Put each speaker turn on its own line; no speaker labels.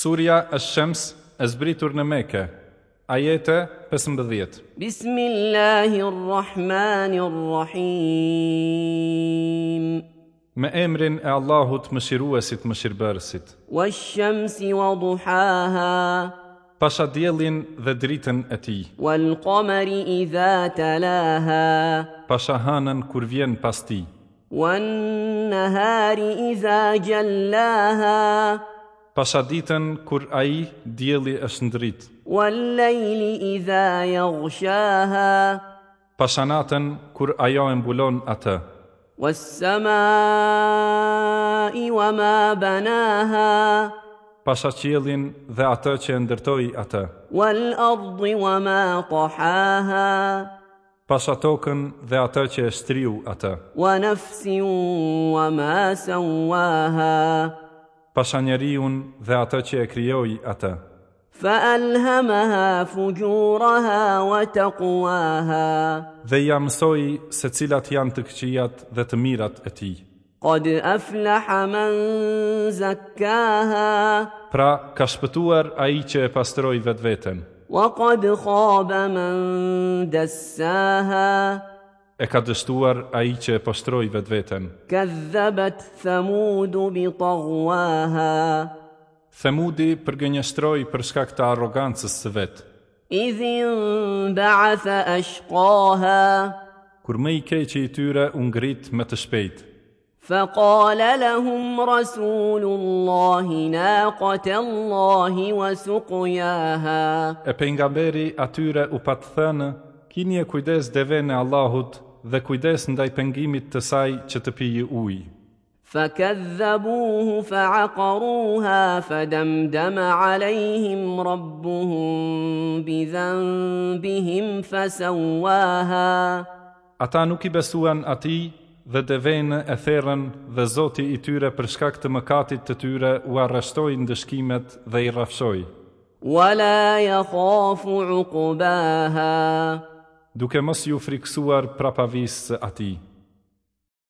Surja është shems e zbritur në meke, ajete 15.
بسم الله الرحمن الرحيم
Me emrin e Allahut më shiruesit më shirëbërësit,
والشمس وضحاها
pasha djelin dhe dritën e ti,
والقمر إذا تلاها
pasha hanën kur vjen pas ti,
والنهار إذا جلاها
pasha ditën kur aji djeli është ndrit,
والليل إذا يغشاها
pasha natën kur ajo e mbulon atë,
والسماء وما بناها
pasha qjelin dhe atë që e ndërtoj atë,
والأرض وما طحاها
pasha tokën dhe atë që e shtriu atë,
ونفس وما سواها
pasha njeriun dhe atë që e kryoj atë,
فألهمها فجورها وتقواها
dhe ja mësoj se cilat janë të këqijat dhe të mirat e ti.
قد أفلح من زكاها
Pra, ka shpëtuar a i që e pastroj vetë vetën,
وقد خاب من دساها
e ka dështuar a i që e pastroj vetë vetën.
كذبت ثمود بطغواها
Themudi përgënjështroj për shkak të arrogancës së vetë,
إذ انبعث أشقاها
kur më i keqi i tyre u ngrit me të shpejt.
فقال لهم رسول الله ناقة الله وسقياها
E pejgamberi atyre u patë thënë, kini e kujdes devën e Allahut dhe kujdes ndaj pengimit të saj që të pijë ujë.
فكذبوه فعقروها فدمدم عليهم ربهم بذنبهم فسواها
Ata nuk i besuan ati dhe devenë e therën dhe zoti i tyre për shkak të mëkatit të tyre u arreshtoi ndëshkimet dhe i rafshoi,
ولا يخاف عقباها
duke mos ju friksuar prapavisë së ati.